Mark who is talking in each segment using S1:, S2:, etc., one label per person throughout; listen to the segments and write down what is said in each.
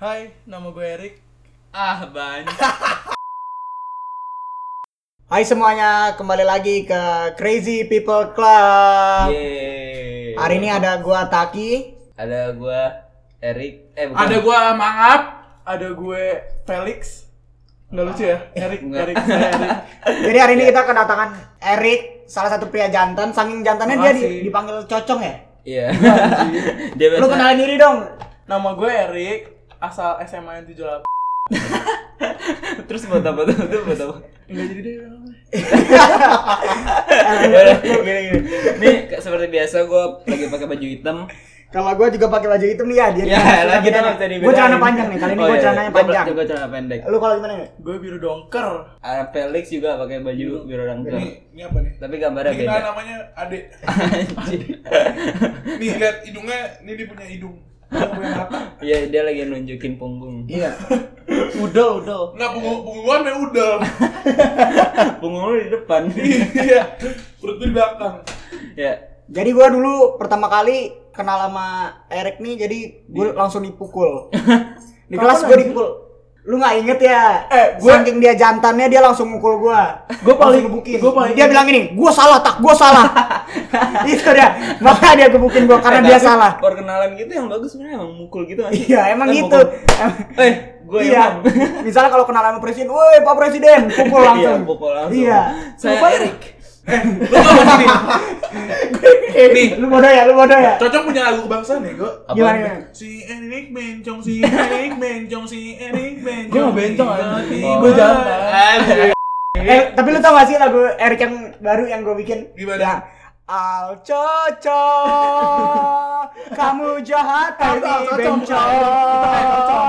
S1: Hai, nama gue Erik.
S2: Ah, banyak.
S3: Hai semuanya, kembali lagi ke Crazy People Club.
S2: Yeay.
S3: Hari ini ada gua Taki.
S2: ada gua Erik. Eh, bukan.
S1: Ada gue Mangap, ada gue Felix. Nggak lucu ya? Erik,
S2: Nggak.
S1: Erik, saya Erik.
S3: Jadi hari
S2: Iya.
S3: ini kita kedatangan Erik, salah satu pria jantan. Saking jantannya dia di-
S1: Makasih.
S3: dipanggil cocong ya.
S2: Iya. Dia biasa.
S3: Lu kenalin diri dong.
S1: Nama gue Erik, asal SMA yang 78.
S2: Terus buat apa tuh? Itu buat apa?
S1: Enggak jadi deh.
S2: Yaudah, Ya gini, gini. Nih, kayak seperti biasa gua lagi pakai baju hitam.
S3: Kalau gua juga pakai baju hitam nih ya, dia.
S2: Ya, lah kita nggak bisa dibedain.
S3: Gua celana panjang nih, kali ini
S2: Oh,
S3: gua
S2: iya.
S3: celananya
S2: Gua
S3: panjang.
S2: Gua celana pendek.
S3: Lu kalau gimana nih?
S1: Gue biru dongker.
S2: Ah, Felix juga pakai baju
S3: Iya.
S2: biru orang tua.
S4: Ini, ini apa nih?
S2: Tapi gambarnya
S4: Ini
S2: beda.
S4: kan namanya Ade.
S2: Anjir.
S4: Nih lihat hidungnya, ini dia punya hidung. Hidung yang rata.
S2: Iya, dia lagi nunjukin punggung.
S3: Iya.
S1: Udel, udel.
S4: Nah, punggung punggungan yang udel.
S2: Punggung lu di depan.
S4: Iya. Perut tuh di belakang.
S2: ya.
S3: Jadi gua dulu pertama kali kenal sama Erik nih, jadi gua langsung dipukul. Di kelas gua dipukul. Lu nggak inget ya?
S1: Eh, gua-
S3: Saking dia jantannya dia langsung mukul gua.
S1: Gua paling-
S3: Langsung gebukin.
S1: gua paling
S3: dia
S1: inget.
S3: bilang ini, gua salah tak, gua salah. Itu dia. Makanya dia gebukin gua karena
S2: Eh,
S3: dia
S2: tapi
S3: salah.
S2: Perkenalan gitu yang bagus sebenarnya emang mukul gitu kan.
S3: Kan Iya, emang
S2: Kan
S3: gitu.
S2: mukul.
S3: Em-
S2: Eh, gue
S3: iya.
S2: emang.
S3: Misalnya kalau kenal sama presiden, woi Pak Presiden, pukul langsung.
S2: Iya, pukul langsung.
S3: Iya.
S2: Saya
S3: Sumpah,
S2: Erik. Eh,
S4: Lu tau gak sih? Nih,
S3: Lu bodoh ya, lu bodoh ya.
S4: cocok punya lagu kebangsaan ya, Go?
S2: Apa?
S3: Gimana? gimana?
S4: Si Erik bencong, si Erik bencong, si Erik bencong.
S1: Gua nggak bencong,
S4: Tiba-tiba
S1: anjing. Gua jantan.
S3: Eh, tapi lu tau gak sih lagu Eric yang baru yang gue bikin?
S4: Gimana?
S3: Yang Al Coco Kamu jahat tapi
S4: Kamu, kamu,
S3: bencong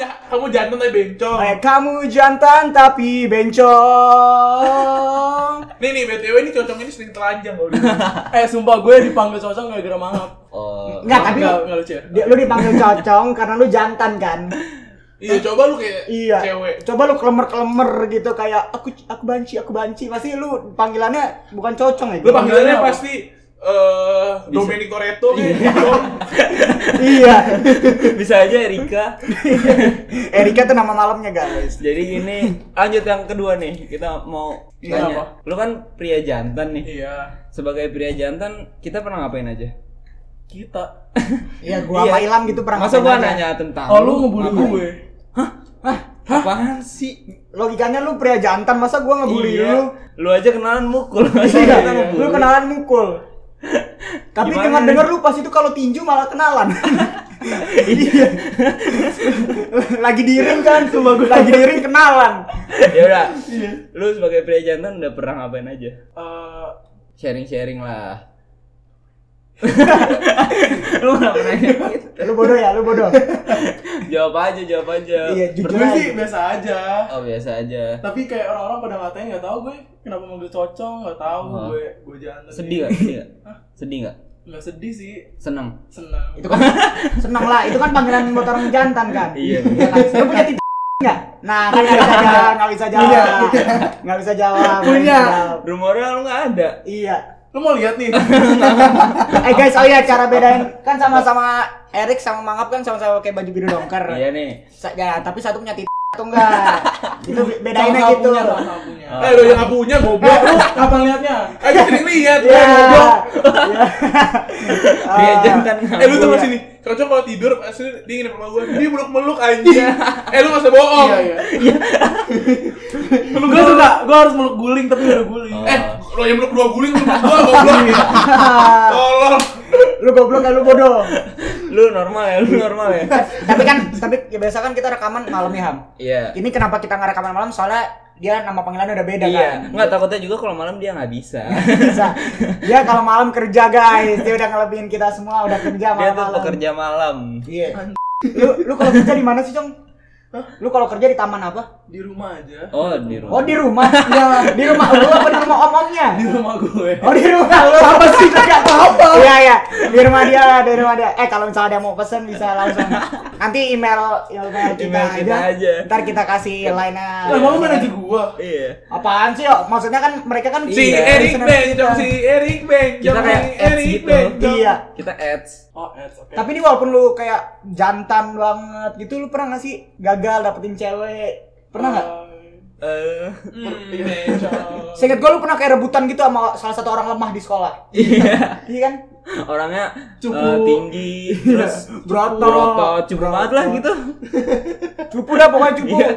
S4: jah- kamu jantan tapi bencong.
S3: Eh, kamu jantan tapi bencong
S4: Nih nih, BTW ini cocok ini sering telanjang kalau dulu.
S1: Eh, sumpah gue dipanggil cocok gara-gara Mangap.
S2: Oh.
S3: Nggak, tapi
S1: Nggak,
S3: lu-
S1: nggak lucu ya?
S3: Dia- Lu dipanggil cocong karena lu jantan kan?
S4: Iya, coba lu kayak
S3: Iya.
S4: cewek.
S3: Coba lu kelemer-kelemer gitu kayak aku aku banci, aku banci. Pasti lu panggilannya bukan cocong ya?
S4: Lu panggilannya
S1: apa?
S4: pasti eh Domenico Reto kayak
S1: gitu.
S3: Iya.
S2: Bisa aja Erika.
S3: Erika tuh nama malamnya, guys.
S2: Jadi gini, lanjut yang kedua nih. Kita mau
S1: Iya,
S2: tanya.
S1: apa?
S2: Lu kan pria jantan nih.
S4: Iya.
S2: Sebagai pria jantan, kita pernah ngapain aja?
S1: Kita.
S3: Iya, gua sama Ilham gitu pernah
S2: Masa
S3: ngapain
S2: gua
S3: aja.
S2: nanya tentang
S1: Oh, lu ngebully
S2: ngapain?
S1: gue.
S2: Hah? Hah? Apaan sih?
S3: logikanya lu pria jantan masa gua ngebully
S2: Iya.
S3: lu
S2: Lu aja kenalan mukul. Masa
S3: Iya,
S2: kita ngebully?
S3: lu kenalan mukul tapi
S2: Gimana
S3: dengar
S2: nih?
S3: dengar lu pas itu kalau tinju malah kenalan iya lagi di ring kan lagi di ring kenalan
S2: ya udah lu sebagai pria jantan udah pernah ngapain aja
S1: Eh,
S2: sharing sharing lah lu nggak pernah gitu
S3: lu bodoh ya lu bodoh
S2: jawab aja jawab aja
S3: iya jujur
S1: gue sih
S3: aja.
S1: biasa aja.
S2: oh biasa aja
S1: Tapi kayak orang-orang pada ngatain nggak tahu gue kenapa manggil cocok, nggak tahu
S2: Oh.
S1: gue gue jantan.
S2: sedih nggak sedih nggak sedih nggak
S1: Nggak sedih sih,
S2: seneng
S1: senang.
S3: itu kan seneng lah itu kan panggilan buat orang jantan kan
S2: Iya.
S3: kan? lu punya titik nggak nah kan nggak bisa jawab nggak bisa jawab nggak bisa jawab nggak
S1: Punya.
S3: bisa jawab.
S2: rumornya lu nggak ada
S3: iya
S1: Lu mau lihat nih?
S3: Eh guys, oh iya cara bedain kan sama-sama Erik sama Mangap kan sama-sama pakai baju biru dongker.
S2: iya nih
S3: Sa- ya, tapi satu punya titik atau enggak. Itu be-
S1: Sama
S3: bedainnya gitu.
S1: punya, sama punya.
S2: Oh.
S4: Eh, lu yang nggak punya goblok.
S1: Goblok lu kapan lihatnya?
S4: Eh, gue sering lihat.
S3: Iya.
S4: goblok.
S3: Iya.
S2: pria jantan
S4: Eh,
S1: Iya.
S4: lu tau
S2: ngabur.
S4: gak sini? Cocok kalau tidur, asli dia nginep sama gue. Dia meluk-meluk anjing. Eh, lu gak usah bohong.
S1: Iya, iya. Lu gue suka, gue harus meluk guling tapi udah guling. Iya.
S2: Oh.
S4: Eh, lu yang meluk dua guling, lu meluk gua goblok. Tolong.
S3: Lu goblok kan lu bodoh.
S2: lu normal ya lu normal ya
S3: tapi kan tapi ya biasa kan kita rekaman malam ya Ham.
S2: iya
S3: Ini kenapa kita nggak rekaman malam soalnya dia nama panggilannya udah beda
S2: iya
S3: kan.
S2: nggak takutnya juga kalau malam dia nggak bisa
S3: Bisa. Dia kalau malam kerja guys, dia udah ngelebihin kita semua, udah kerja
S2: dia tuh
S3: malam-malam.
S2: pekerja malam
S3: Iya. Lu lu kalau kerja di mana sih, Cong? Lu kalau kerja di taman apa?
S1: Di rumah aja.
S2: oh di
S3: Oh
S2: rumah
S3: di rumah? Iya. Di rumah lu apa di rumah om-omnya?
S1: Di rumah gue.
S3: Oh di rumah lu apa sih? Gak apa-apa. Iya iya, di rumah dia lah, di rumah dia. Eh kalau misalnya ada yang mau pesen bisa langsung nanti email email kita,
S2: Email kita aja.
S3: Ntar kita kasih line-nya.
S1: Lah mau manajer gua.
S2: Iya.
S3: Apaan sih, yo? Maksudnya kan mereka kan gitu.
S4: Si
S2: Iya.
S4: Eric
S3: listener
S4: Benjong,
S3: kita.
S4: si Eric Benjong,
S2: Kita
S4: si
S2: kayak ads
S4: Eric
S2: gitu.
S4: Benjong.
S3: Iya.
S2: Kita ads.
S1: Oh, ads, oke.
S3: Tapi ini walaupun lu kayak jantan banget gitu, lu pernah gak sih gagal dapetin cewek? Pernah gak?
S1: Oh.
S2: Eh.
S4: Hmm, Benjong.
S3: Seinget gue lu pernah kayak rebutan gitu sama salah satu orang lemah di sekolah
S2: Iya.
S3: Iya kan?
S2: Orangnya
S1: Cupu.
S2: eh, tinggi, terus
S3: Broto
S2: berotot, cupu banget lah gitu.
S3: Cupu dah pokoknya cupu
S2: Iya.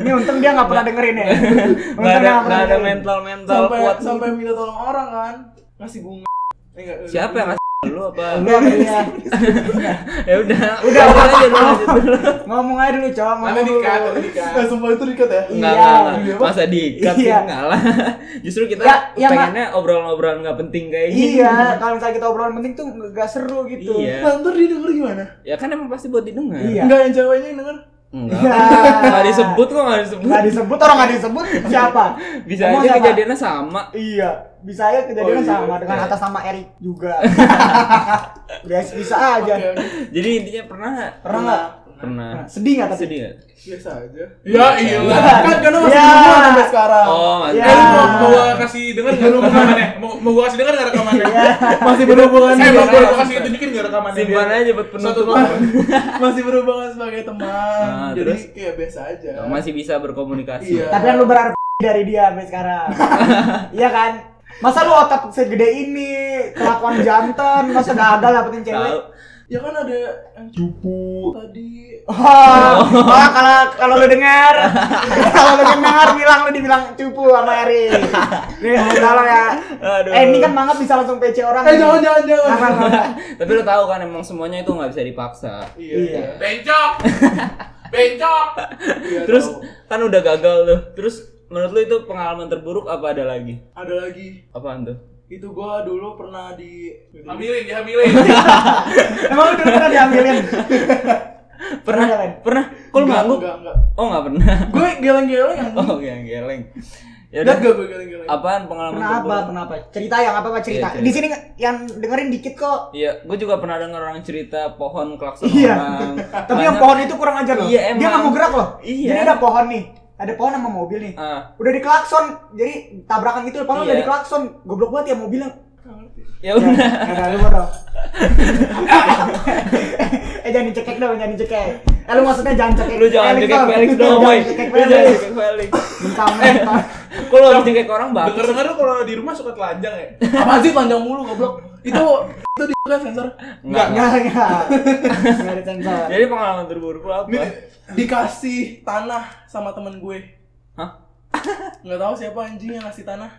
S3: Ini untung dia gak pernah dengerin ya Untung
S2: Gak ada
S3: dia gak pernah
S2: nggak ada
S3: dengerin
S2: mental mental
S1: sampai
S2: kuat.
S1: sampai minta tolong orang kan. Ngasih bunga. Eh, enggak, enggak.
S2: Siapa yang ngasih lu apa?
S3: Udah, iya.
S2: Ya udah.
S3: Udah.
S2: lanjut aja, lanjut dulu.
S3: Ngomong aja dulu coba
S4: Nanti
S3: ngomong
S4: dikat,
S3: dulu
S4: nanti dikat.
S1: Eh, sumpah itu dikat ya?
S2: Enggak,
S3: Iya.
S2: enggak, enggak. Masa diikat sih
S3: Iya.
S2: enggak lah. Justru kita
S3: Ya, ya,
S2: pengennya obrolan-obrolan enggak penting kayak gini.
S3: Iya, kalau misalnya kita obrolan penting tuh gak seru gitu
S2: Iya.
S1: Nah, ntar dia denger gimana?
S2: Ya kan emang pasti buat didengar.
S3: Iya.
S1: Enggak yang ceweknya yang denger.
S2: Enggak.
S3: Iya.
S2: Enggak disebut kok enggak disebut.
S3: Gak disebut, orang gak disebut siapa?
S2: Bisa
S3: Ngomong
S2: aja
S3: siapa?
S2: kejadiannya sama.
S3: Iya, bisa aja
S1: Oh,
S3: kejadian
S1: iya.
S3: sama dengan
S2: Iya.
S3: atas nama Erik juga. Biasa bisa aja.
S1: Oke, oke.
S2: Jadi intinya pernah nggak?
S3: Pernah nggak?
S2: Pernah.
S3: Sedih nggak tapi?
S2: Sedih nggak?
S1: Biasa aja.
S4: Ya iya.
S1: Kan karena masih
S3: Ya.
S1: yeah. sampai sekarang.
S2: Oh,
S3: Iya.
S4: Eh, lu
S2: mantap.
S4: mau mau gua kasih denger nggak rekamannya? Mau mau gua kasih denger nggak rekamannya?
S3: Iya.
S1: Masih berhubungan
S4: Eh, mau
S1: sebagai
S4: gua kasih tunjukin nggak rekamannya?
S2: Simpan aja buat penutup.
S4: Satu momen.
S1: masih berhubungan sebagai teman.
S2: Nah,
S1: Jadi
S2: terus?
S1: kayak biasa aja.
S2: Oh, Masih bisa berkomunikasi.
S1: Iya.
S3: Tapi kan lu berharap dari dia sampai sekarang. Iya kan? Masa lu otak segede ini, kelakuan jantan, masa gagal dapetin cewek?
S2: Tahu.
S1: Ya kan ada yang cupu tadi.
S3: Wah,
S2: Oh.
S3: wah, kalau kalau lu dengar, kalau lu dengar bilang lu dibilang cupu sama Erik. Nih, kalau ya.
S2: Aduh.
S3: Eh, ini kan mangga bisa langsung PC orang.
S1: Eh, jangan jangan jangan.
S3: Jangan, jangan.
S2: Tapi lu tahu kan emang semuanya itu nggak bisa dipaksa.
S3: Iya.
S4: Benjok. Benjok.
S1: Iya,
S2: Terus
S1: tahu.
S2: kan udah gagal tuh. Terus menurut lu itu pengalaman terburuk apa ada lagi?
S1: ada lagi
S2: Apaan tuh?
S1: itu gua dulu pernah di
S4: Hamilin, dihamilin.
S3: Emang lu dulu pernah diambilin? Pernah kan? nggak, Len?
S2: Pernah? Pernah? Kok lu ngangguk?
S1: enggak enggak
S2: Oh, nggak pernah.
S1: gue geleng-geleng yang
S2: Oh, yang geleng. Ya
S1: lihat
S2: udah.
S1: gak gue geleng-geleng
S2: Apaan pengalaman
S3: Kenapa?
S2: terburuk?
S3: Kenapa? Cerita yang apa apa cerita.
S2: Iya, cerita.
S3: Di sini nggak- yang dengerin dikit kok.
S2: Iya, gue juga pernah dengar orang cerita pohon klakson
S3: Iya.
S2: orang.
S3: Tapi yang
S2: Banyak-
S3: pohon itu kurang ajar loh.
S2: Iya,
S3: Dia
S2: emang.
S3: nggak mau gerak loh.
S2: Iya.
S3: Jadi ada pohon nih. Ada pohon sama mobil nih.
S2: Ah,
S3: Udah diklakson. Jadi tabrakan gitu padahal udah
S2: Iya.
S3: diklakson. Goblok banget ya mobilnya.
S2: ya udah.
S3: Ya, ya, lu mau tau. eh jangan dicekek dong, jangan dicekek. Eh lu maksudnya jangan cekek.
S2: Lu jangan
S3: Felix
S2: cekek Felix dong,
S3: Jangan
S2: boy.
S3: cekek
S2: Lu jangan
S3: Felix.
S2: cekek Felix.
S3: Mentah,
S2: Eh,
S3: mentah.
S2: kok lu harus cekek orang bang?
S4: Denger denger lu kalau di rumah suka telanjang ya?
S1: apa sih panjang mulu goblok itu itu di kan sensor
S2: Enggak,
S3: Enggak, enggak. Enggak ada sensor.
S2: Jadi pengalaman terburuk lu apa?
S1: Ini dikasih tanah sama temen gue
S2: Hah?
S1: nggak tahu siapa anjing yang ngasih tanah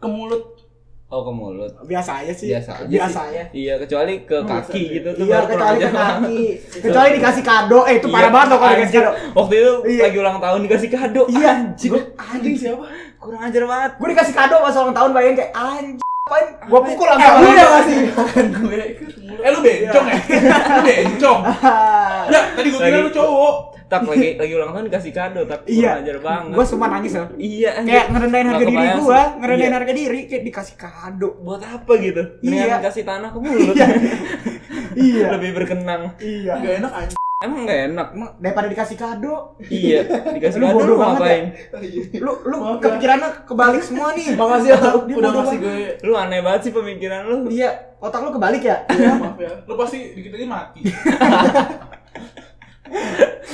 S1: ke mulut
S2: Oh, ke mulut.
S3: Biasa aja sih.
S2: Biasa aja.
S3: Biasa
S2: sih.
S3: aja.
S2: Iya, kecuali ke kaki gitu tuh baru
S3: Iya,
S2: kurang
S3: kecuali ke
S2: ajar.
S3: kaki. Kecuali dikasih kado, eh itu
S2: Iya,
S3: parah banget loh kalau dikasih
S2: anjir.
S3: kado.
S2: Waktu itu
S3: Iya.
S2: lagi ulang tahun dikasih kado.
S3: Iya,
S2: anjir.
S3: gua-
S1: anjing siapa
S2: Kurang ajar banget.
S3: Gue dikasih kado pas ulang tahun bayangin kayak anjing apain gua pukul
S1: eh
S3: langsung.
S1: lu yang ngasih kan gue ke mulut
S4: Eh lu bencong ya? Lu bencong.
S3: Ah.
S4: Ya, tadi gua kira
S2: Lagi-
S4: lu cowok.
S2: Tak lagi lagi ulang tahun dikasih kado, tak kurang
S3: Iya.
S2: ajar banget.
S3: Gua sumpah nangis loh.
S2: Iya, anjir.
S3: Kayak ngerendahin harga
S2: Nggak
S3: diri
S2: kebayang
S3: gua,
S2: sih.
S3: ngerendahin
S2: Iya.
S3: harga diri kayak dikasih kado.
S2: buat apa gitu?
S3: Iya.
S2: Mendingan kasih tanah ke mulut.
S3: Iya.
S2: Lebih berkenang.
S3: Iya.
S1: nggak enak anjing
S2: Emang nggak enak.
S3: Emang daripada dikasih kado,
S2: Iya, dikasih
S3: Lu
S2: kado
S3: bodoh
S2: lu
S3: banget
S2: ngapain?
S3: lu lu
S1: Maaf ya.
S3: kepikirannya kebalik semua nih.
S1: makasih ya Tang.
S3: Dia
S1: Oh, udah
S3: bodoh
S1: ngasih gue
S2: Lu aneh banget sih pemikiran lu.
S3: ya. Iya, otak lu kebalik ya.
S1: ya, maaf ya
S4: Lu pasti dikit lagi mati.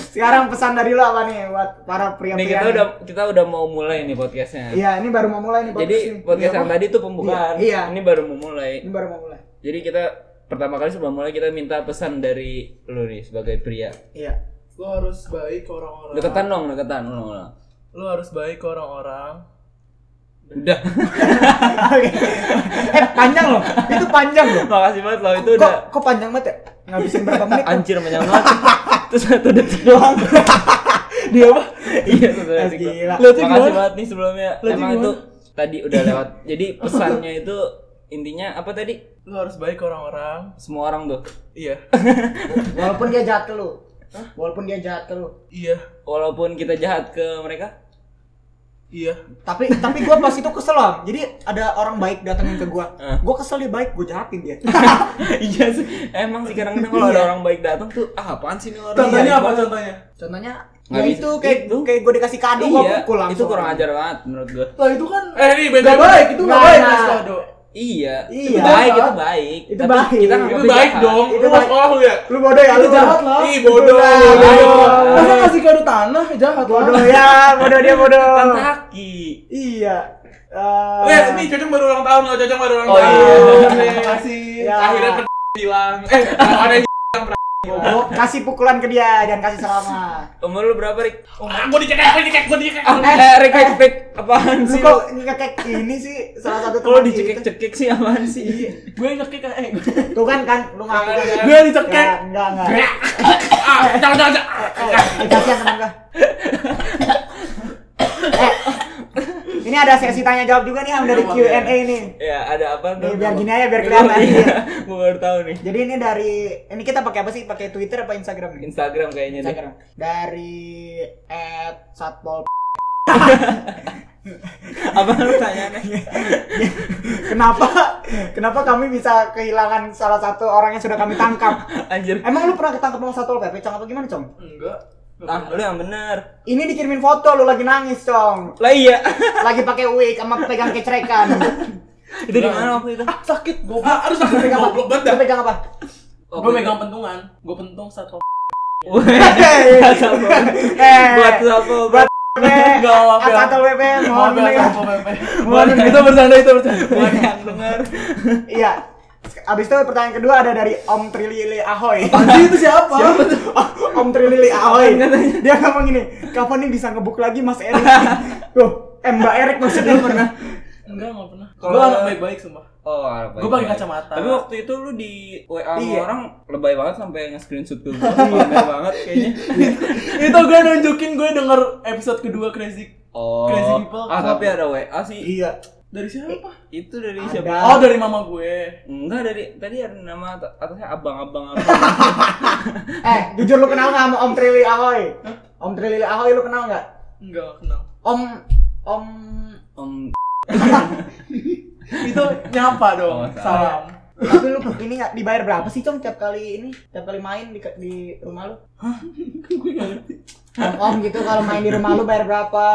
S3: Sekarang pesan dari lu apa nih buat para pria-pria?
S2: Nih kita
S3: nih?
S2: udah kita udah mau mulai nih podcastnya.
S3: Iya, ini baru mau mulai nih podcast
S2: Jadi
S3: nih.
S2: podcast
S3: Iya,
S2: yang tadi tuh pembukaan.
S3: Iya.
S2: Ini baru mau mulai.
S3: Ini baru mau mulai.
S2: Jadi kita pertama kali sebelum mulai kita minta pesan dari lu nih sebagai pria.
S3: Iya.
S1: lo harus baik ke orang-orang
S2: Deketan dong, deketan. Ulang, ulang.
S1: lo harus baik ke orang-orang
S2: Udah.
S3: Oke. eh panjang loh, itu panjang loh.
S2: Makasih banget lo itu
S3: kok,
S2: udah
S3: kok panjang banget ya? Ngabisin berapa menit? tuh?
S2: anjir menyambat. Terus satu detik doang.
S3: Dia apa?
S2: iya satu detik
S3: Gila.
S2: doang.
S1: Lo tuh
S2: Makasih
S1: gimana?
S2: banget nih sebelumnya.
S1: Lo tuh
S2: Emang
S1: gimana?
S2: itu tadi udah lewat. Jadi pesannya itu intinya apa tadi?
S1: lo harus baik ke orang-orang
S2: Semua orang tuh.
S1: iya
S3: Walaupun dia jahat ke lu. Walaupun dia jahat ke lu.
S1: iya
S2: Walaupun kita jahat ke mereka,
S4: Iya.
S3: tapi tapi gue pas itu kesel Am. jadi ada orang baik datangin ke gue
S2: Ah.
S3: gue kesel dia baik gue jahatin dia
S2: Iya sih. Emang sih kadang-kadang kalau
S3: Iya.
S2: ada orang baik datang tuh ah apaan sih ini orang?
S1: Contohnya
S2: Iya,
S1: apa
S2: gua-
S1: contohnya?
S3: contohnya
S2: Nggak
S3: ya
S2: bisa.
S3: itu kayak
S2: Itu.
S3: kayak gue dikasih kado gue
S2: Iya,
S3: pukul langsung
S2: itu kurang ajar banget menurut gua.
S1: Lah itu kan
S4: Eh, ini beda-
S1: Nggak baik, itu nggak
S3: Nah,
S1: baik
S3: nah.
S1: Mas Kado.
S2: Iya.
S3: Iya.
S2: Itu baik, itu baik.
S3: Itu
S2: Tapi
S3: baik.
S2: Kita nggak
S4: Itu
S2: boleh
S4: baik
S2: jahat.
S4: dong.
S3: Itu
S4: Lu
S3: baik.
S4: sekolah lu ya?
S3: lu bodoh ya
S1: Itu
S3: lu
S1: jahat lah. Iya,
S4: Ih, bodoh.
S2: bodoh.
S1: Masa ngasih kado tanah jahat
S3: bodoh
S1: lah. Iya,
S3: ya bodoh dia bodoh
S2: Kan kaki.
S3: iya Eh,
S4: Wes, ini Cocong baru ulang tahun loh, Cocong baru ulang
S2: Oh,
S4: tahun.
S2: iya.
S1: Terima kasih.
S3: ya.
S4: Akhirnya per bilang, eh, ada yang
S3: Goblok, kasih pukulan ke dia jangan kasih selamat
S2: Umur lu berapa, Rik?
S4: ah, gua dicekek, gua dicekek, gua dicekek.
S2: Ah, eh, Rik, Rik, Rik, apaan
S3: lu
S2: sih?
S3: kok ngekek ini sih salah satu
S2: Kalau
S3: teman kita.
S2: dicekik-cekik sih apaan sih?
S1: Gue nyekik kan eh.
S3: tuh kan kan lu ngaku
S4: Jangan,
S3: kan?
S4: jangan.
S1: Gue dicekek.
S3: Ya, enggak enggak eh,
S4: Ah, jangan, jangan, jangan.
S3: eh, kasihan teman gua eh, ini ada sesi tanya jawab juga nih Ham dari
S1: Iya,
S3: Q&A nih
S2: Ya, ada apa
S3: Nih, biar gini aja, biar kelihatan.
S2: Iya, gua baru tahu nih.
S3: jadi ini dari ini kita pakai apa sih pakai Twitter apa Instagram nih
S2: Instagram kayaknya deh.
S3: Instagram dari at satpol
S2: Apa lu tanyaannya?
S3: kenapa kenapa kami bisa kehilangan salah satu orang yang sudah kami tangkap
S2: Anjir.
S3: emang lu pernah ketangkep sama satpol pp cong apa gimana cong
S1: Enggak.
S2: Ah, lu yang bener.
S3: ini dikirimin foto lu lagi nangis cong
S2: Lah iya.
S3: lagi pakai wig sama pegang kecerekan
S2: itu di mana waktu itu?
S1: Ah, sakit goblok.
S4: Ah, harus aku
S3: pegang apa
S4: goblok banget dah.
S3: Lu pegang apa
S1: Gue megang pentungan. Gue pentung satu.
S2: Weh, satpol.
S3: eh
S2: Buat satpol.
S3: buat PP,
S1: Enggak apa-apa.
S3: satpol pp mohon
S1: Maaf ya,
S3: mendengar.
S1: Satpol PP.
S2: Buat
S1: Itu bercanda itu bercanda.
S2: buat yang denger.
S3: iya Abis itu pertanyaan kedua ada dari Om Trilili Ahoy
S1: Anjir itu siapa?
S3: Om Trilili Ahoy Dia ngomong gini Kapan nih bisa ngebuk lagi Mas Erik Loh Eh Mbak Erik maksudnya pernah
S1: Enggak, enggak pernah.
S2: Kalau-
S1: Gue anak baik-baik sumpah.
S2: Oh,
S1: Gua pakai kacamata.
S2: Tapi waktu itu lu di WA sama
S3: Iya.
S2: orang lebay banget sampai nge-screenshot ke gua. Lebay banget kayaknya.
S1: itu gue nunjukin gue denger episode kedua Crazy
S2: Oh.
S1: Crazy people.
S2: Ah, tapi ada WA sih.
S3: Iya
S1: dari siapa?
S2: Itu dari
S3: Ada.
S2: siapa?
S1: Oh dari mama gue.
S2: Enggak dari tadi ada nama at- atasnya abang-abang apa?
S3: Eh jujur lu kenal gak sama Om Trilili Ahoy Om Trilili Ahoy lu kenal gak
S1: Enggak nggak kenal.
S3: Om Om
S2: Om
S1: Itu nyapa dong.
S2: Oh,
S1: salam.
S3: tapi lu ini nggak dibayar berapa sih cong tiap kali ini tiap kali main di, di rumah lu
S1: gue nggak ngerti.
S3: om, om gitu kalau main di rumah lu bayar berapa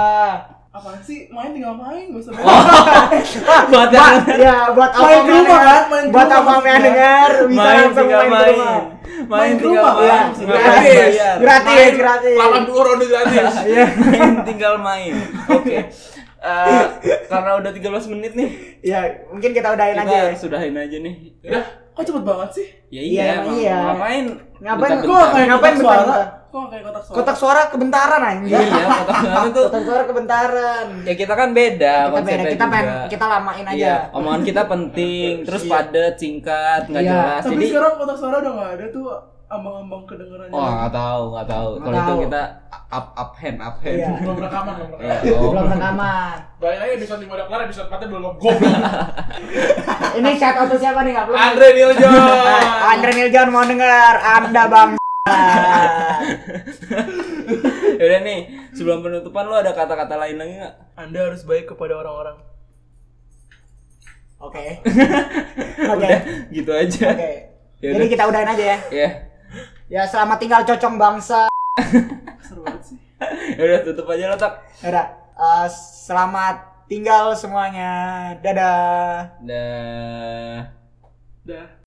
S1: Apaan sih? Main tinggal main, gak usah main.
S2: buat yang
S3: ya buat apa
S1: Main ke
S3: yang
S1: rumah,
S3: denger,
S1: kan? Main ke
S3: buat
S1: rumah
S3: apa yang
S1: maksudnya.
S3: dengar bisa
S2: main
S3: langsung
S2: tinggal main.
S3: main, ke rumah
S2: Main
S1: Main
S2: tinggal
S1: rumah,
S2: main.
S1: ya.
S2: Tinggal
S3: Gratis.
S2: bayar.
S3: gratis gratis
S4: 80 ronde gratis.
S3: Iya.
S2: Main tinggal main. Oke. Eh, karena udah 13 menit nih.
S3: ya mungkin kita udahin
S2: Kita
S3: aja ya.
S2: harus sudahin aja nih.
S4: Iya,
S1: Udah, kok cepet banget sih?
S2: Ya
S3: Iya,
S2: iya, emang
S3: iya.
S2: ngapain?
S3: Ngapain
S2: bentar-bentar?
S3: gua kayak- Ngapain
S1: kotak suara?
S3: bentar-bentar?
S1: Kok nggak kayak kotak suara?
S3: kotak suara kebentaran anjir
S2: Iya, kotak suara tuh.
S3: kotak suara kebentaran
S2: Ya kita kan beda
S3: kita beda
S2: konsepnya
S3: kita
S2: juga.
S3: pengen kita lamain aja
S2: Iya, omongan kita penting, terus padat, singkat, nggak
S3: Iya.
S2: jelas.
S1: Tapi
S2: Jadi
S1: sekarang kotak suara udah nggak ada tuh ambang-ambang kedengerannya.
S2: Wah, oh, nggak tahu, nggak tahu.
S3: Nggak
S2: Kalau itu
S3: tahu.
S2: kita up up hand, up hand.
S3: Iya.
S1: Belum rekaman, belum
S2: Iya,
S1: rekaman.
S2: oh.
S3: belum rekaman
S4: Balik lagi episode 5 udah kelar, episode 4 belum goblok.
S3: ini shout out to siapa nih nggak belum
S4: Andre Niljo.
S3: Ah, Andre Niljan mau dengar anda bang
S2: Yaudah nih, sebelum penutupan lo ada kata-kata lain lagi nggak?
S1: Anda harus baik kepada orang-orang.
S3: oke oke
S2: Udah, gitu aja.
S3: oke jadi
S2: Yaudah.
S3: kita udahin aja ya
S2: Ya,
S3: ya selamat tinggal cocong bangsa
S1: Seru banget sih.
S2: yaudah tutup aja lo tak.
S3: Yaudah, eh, selamat tinggal semuanya dadah
S2: Dah.
S1: Dah.